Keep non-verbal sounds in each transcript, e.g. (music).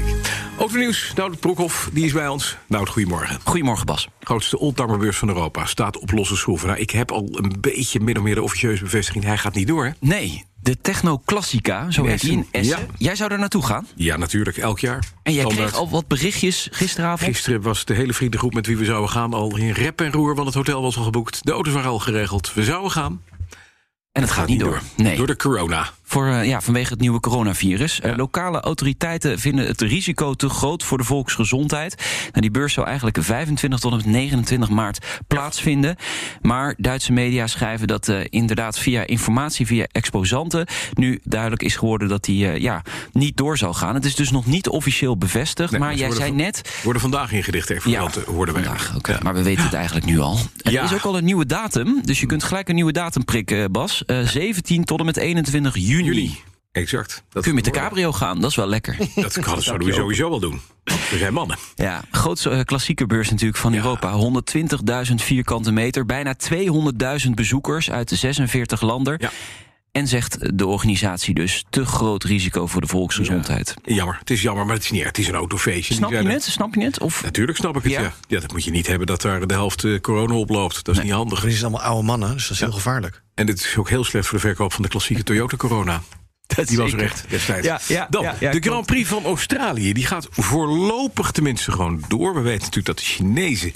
ik. Autonieuws, Nout Broekhoff, die is bij ons. Nout, goedemorgen. Goedemorgen, Bas. Grootste oldtimerbeurs van Europa staat op losse schroeven. Nou, ik heb al een beetje min of meer de officieuze bevestiging. Hij gaat niet door, hè? Nee, de Techno Classica, zo In heet die in Essen. Essen. Ja. Jij zou er naartoe gaan. Ja, natuurlijk, elk jaar. En jij Standaard. kreeg al wat berichtjes gisteravond. Gisteren was de hele vriendengroep met wie we zouden gaan al in rep en roer, want het hotel was al geboekt. De auto's waren al geregeld. We zouden gaan. en het gaat niet door. Nee, Door de corona. Voor, eh, ja, vanwege het nieuwe coronavirus. Eh, Ja. lokale autoriteiten vinden het risico te groot voor de volksgezondheid. Nou, die beurs zou eigenlijk 25 tot en met 29 maart plaatsvinden. Maar Duitse media schrijven dat eh, inderdaad via informatie, via exposanten... nu duidelijk is geworden dat die eh, ja, niet door zal gaan. Het is dus nog niet officieel bevestigd, Nee, maar ze jij worden zei van- net... Worden vandaag ingelicht, even ja, eh, hoorden wij. vandaag. Oké, Maar we weten het eigenlijk nu al. Er Ja. is ook al een nieuwe datum, dus je kunt gelijk een nieuwe datum prikken, Bas. Eh, 17 tot en met 21 juni. Juli. Exact. Dat Kun je met de worden- cabrio gaan, (laughs) dat is wel (laughs) lekker. Dat, kan- dat zouden we sowieso wel doen. Want we zijn mannen. ja, grootste eh, klassieke beurs natuurlijk van Europa. 120.000 vierkante meter, bijna 200.000 bezoekers uit 46 landen. Ja. En zegt de organisatie dus, te groot risico voor de volksgezondheid. Jammer, het is jammer, maar het is niet erg. Het is een autofeestje. Snap Die je zijn het? er- Snap je het? Of Natuurlijk snap ik het, Ja. ja. ja. dat moet je niet hebben dat daar de helft eh, corona oploopt. Dat is niet handig. Het is allemaal oude mannen, dus dat is heel gevaarlijk. En dit is ook heel slecht voor de verkoop van de klassieke Toyota (laughs) Corona. die was zeker. recht destijds. Ja, ja, Dan, ja, ja, de klopt. Grand Prix van Australië. Die gaat voorlopig tenminste gewoon door. We weten natuurlijk dat de Chinezen...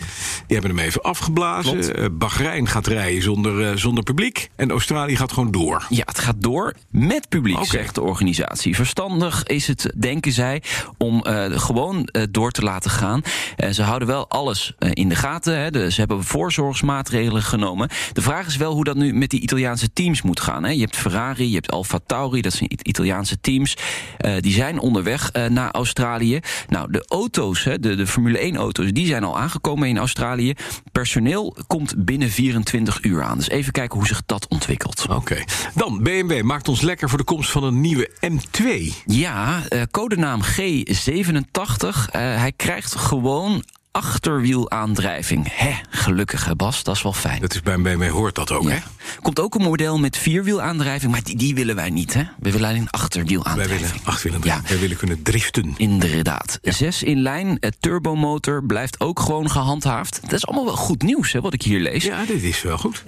die hebben hem even afgeblazen. Eh, Bahrein gaat rijden zonder, eh, zonder publiek. En Australië gaat gewoon door. Ja, het gaat door met publiek, Oké. zegt de organisatie. Verstandig is het, denken zij, om eh, gewoon eh, door te laten gaan. Eh, ze houden wel alles eh, in de gaten. Hè. De- ze hebben voorzorgsmaatregelen genomen. De vraag is wel hoe dat nu met die Italiaanse teams moet gaan. Hè. Je hebt Ferrari, je hebt Alfa Tauri, dat zijn I- Italiaanse teams. Eh, die zijn onderweg eh, naar Australië. Nou, de auto's, hè, de, de Formule 1-auto's, die zijn al aangekomen in Australië. Personeel komt binnen 24 uur aan. Dus even kijken hoe zich dat ontwikkelt. Oké. Dan, BMW maakt ons lekker voor de komst van een nieuwe M2. Ja, eh, codenaam G87. Eh, hij krijgt gewoon achterwielaandrijving. Hè, gelukkig hè Bas, dat is wel fijn. Dat is bij BMW hoort dat ook, Ja. hè? Komt ook een model met vierwielaandrijving, maar die, die willen wij niet. Hè? We willen alleen Wij achterwielaandrijving. willen achtwielen Ja. Wij willen kunnen driften. Inderdaad. Zes in lijn, eh, turbomotor blijft ook gewoon gehandhaafd. Dat is allemaal wel goed nieuws, hè, wat ik hier lees. Ja, Ja, dit is wel goed.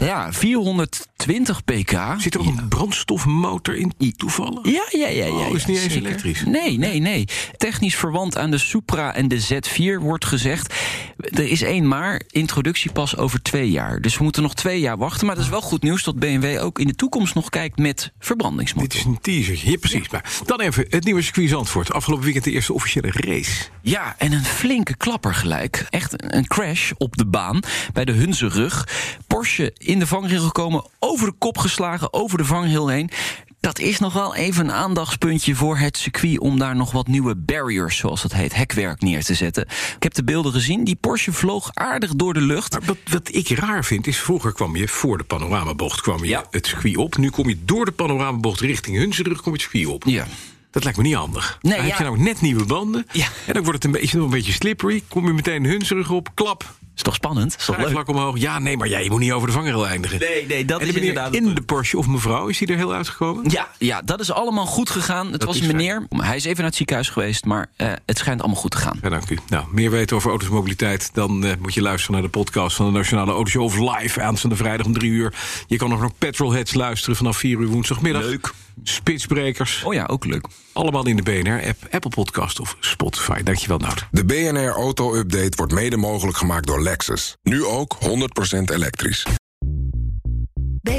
420 pk. Zit er ook een brandstofmotor in, toevallen? Ja, ja, ja. ja, Oh, ja, is niet eens zeker. elektrisch. Nee, nee, nee. Technisch verwant aan de Supra en de Z4 wordt gezegd. Er is één maar, introductie pas over twee jaar. Dus we moeten nog twee jaar wachten. Maar dat is wel goed nieuws dat BMW ook in de toekomst nog kijkt met Dit verbrandingsmotor. is een teaser. Ja, precies. Maar dan even het nieuwe circuit Zandvoort. Afgelopen weekend de eerste officiële race. Ja, en een flinke klapper gelijk. Echt een crash op de baan bij de Hunzerug. Porsche in de vangrail gekomen, over de kop geslagen, over de vangrail heen. Dat is nog wel even een aandachtspuntje voor het circuit om daar nog wat nieuwe barriers, zoals dat heet, hekwerk neer te zetten. Ik heb de beelden gezien. Die Porsche vloog aardig door de lucht. Maar wat, wat ik raar vind is, vroeger kwam je voor de panoramabocht kwam je Ja. het circuit op. Nu kom je door de panoramabocht richting Hunserug, kom je het circuit op. Ja. Dat lijkt me niet handig. Nee, dan heb je ja. nou net nieuwe banden. Ja. En dan wordt het een beetje, nog een beetje slippery. Kom je meteen Hunserug op, klap. Is toch spannend? Is toch leuk? Vlak omhoog. Ja, nee, maar jij moet niet over de vangrail eindigen. Nee, nee, dat en is de meneer inderdaad het in de Porsche of mevrouw, is die er heel uitgekomen? Ja, ja, dat is allemaal goed gegaan. Het was is een meneer. Hij is even naar het ziekenhuis geweest, maar eh, het schijnt allemaal goed te gaan. Ja, dank u. Nou, meer weten over auto's en mobiliteit... dan eh, moet je luisteren naar de podcast van de Nationale Autoshow... of live aanstaande vrijdag om drie uur. Je kan ook nog Petrolheads luisteren vanaf vier uur woensdagmiddag. Leuk. Spitsbrekers, Oh ja, ook leuk. allemaal in de BNR-app, Apple Podcast of Spotify. Dankjewel, Nout. De BNR Auto Update wordt mede mogelijk gemaakt door Lexus. Nu ook 100% elektrisch. Bij